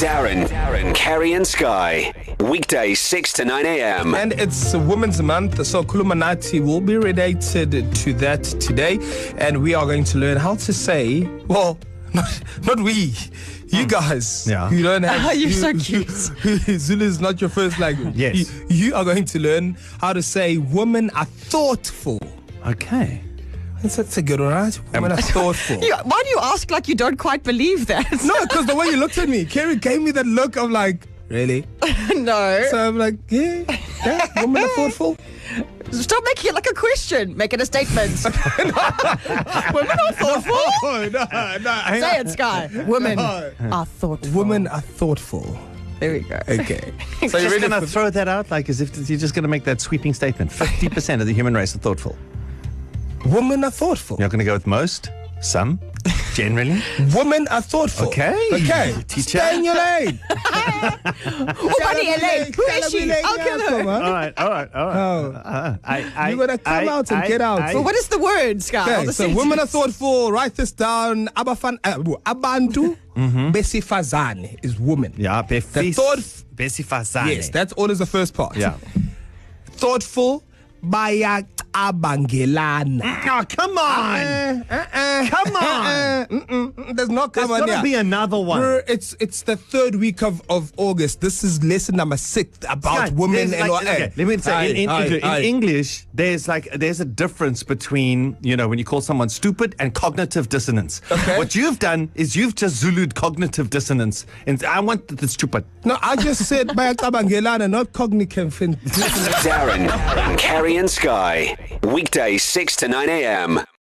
Darren, Darren, Kerry and Sky. Weekdays 6 to 9 a.m. And it's Women's Month, so Kulumanati will be related to that today. And we are going to learn how to say, well, not, not we, you guys. Yeah. You don't have. You're you, so cute. Zulu is not your first language. Yes. You, you are going to learn how to say, women are thoughtful. Okay. That's, that's a good one, right? Women are thoughtful. You, why do you ask like you don't quite believe that? No, because the way you looked at me, Kerry gave me that look of like, really? no. So I'm like, yeah, yeah women are thoughtful. Stop making it like a question. Make it a statement. Women are thoughtful. Oh, no, no. Say it, Sky. Women are thoughtful. Women are thoughtful. There we go. Okay. so So you you're ready going for to throw that out like as if you're just going to make that sweeping statement. 50% of the human race are thoughtful. women are thoughtful. You're going to go with most, some, generally. Women are thoughtful. Okay. Okay. Teacher. Stay in your lane. Oh, buddy, Elaine. Who is she? I'll kill her. All right, all right, all right. Oh. Uh, I, I, You gotta come out and get out. Well, what is the word, Sky? Or Okay, the so sentence? women are thoughtful. Write this down. Abafan, uh, abantu mm-hmm. besifazane is woman. yeah, The befis, thought- besifazane. Yes, that's always the first part. Yeah. Thoughtful. Bayacabangelana. Oh, come on. Uh, uh, uh, Come Uh, on. mm, mm, mm, there's no There's come on got to here. be another one. We're, it's it's the third week of, of August. This is lesson number six about Yeah, women there's and like, all. okay, let me say Aye, in, in, aye, Engli- aye. in English there's like there's a difference between you know when you call someone stupid and cognitive dissonance Okay. what you've done is you've just zulued cognitive dissonance and I want the, the stupid No, I just said bayacabangelana, not cognitive. Darren, Darren, Kerry and Sky. Weekdays 6 to 9 a.m.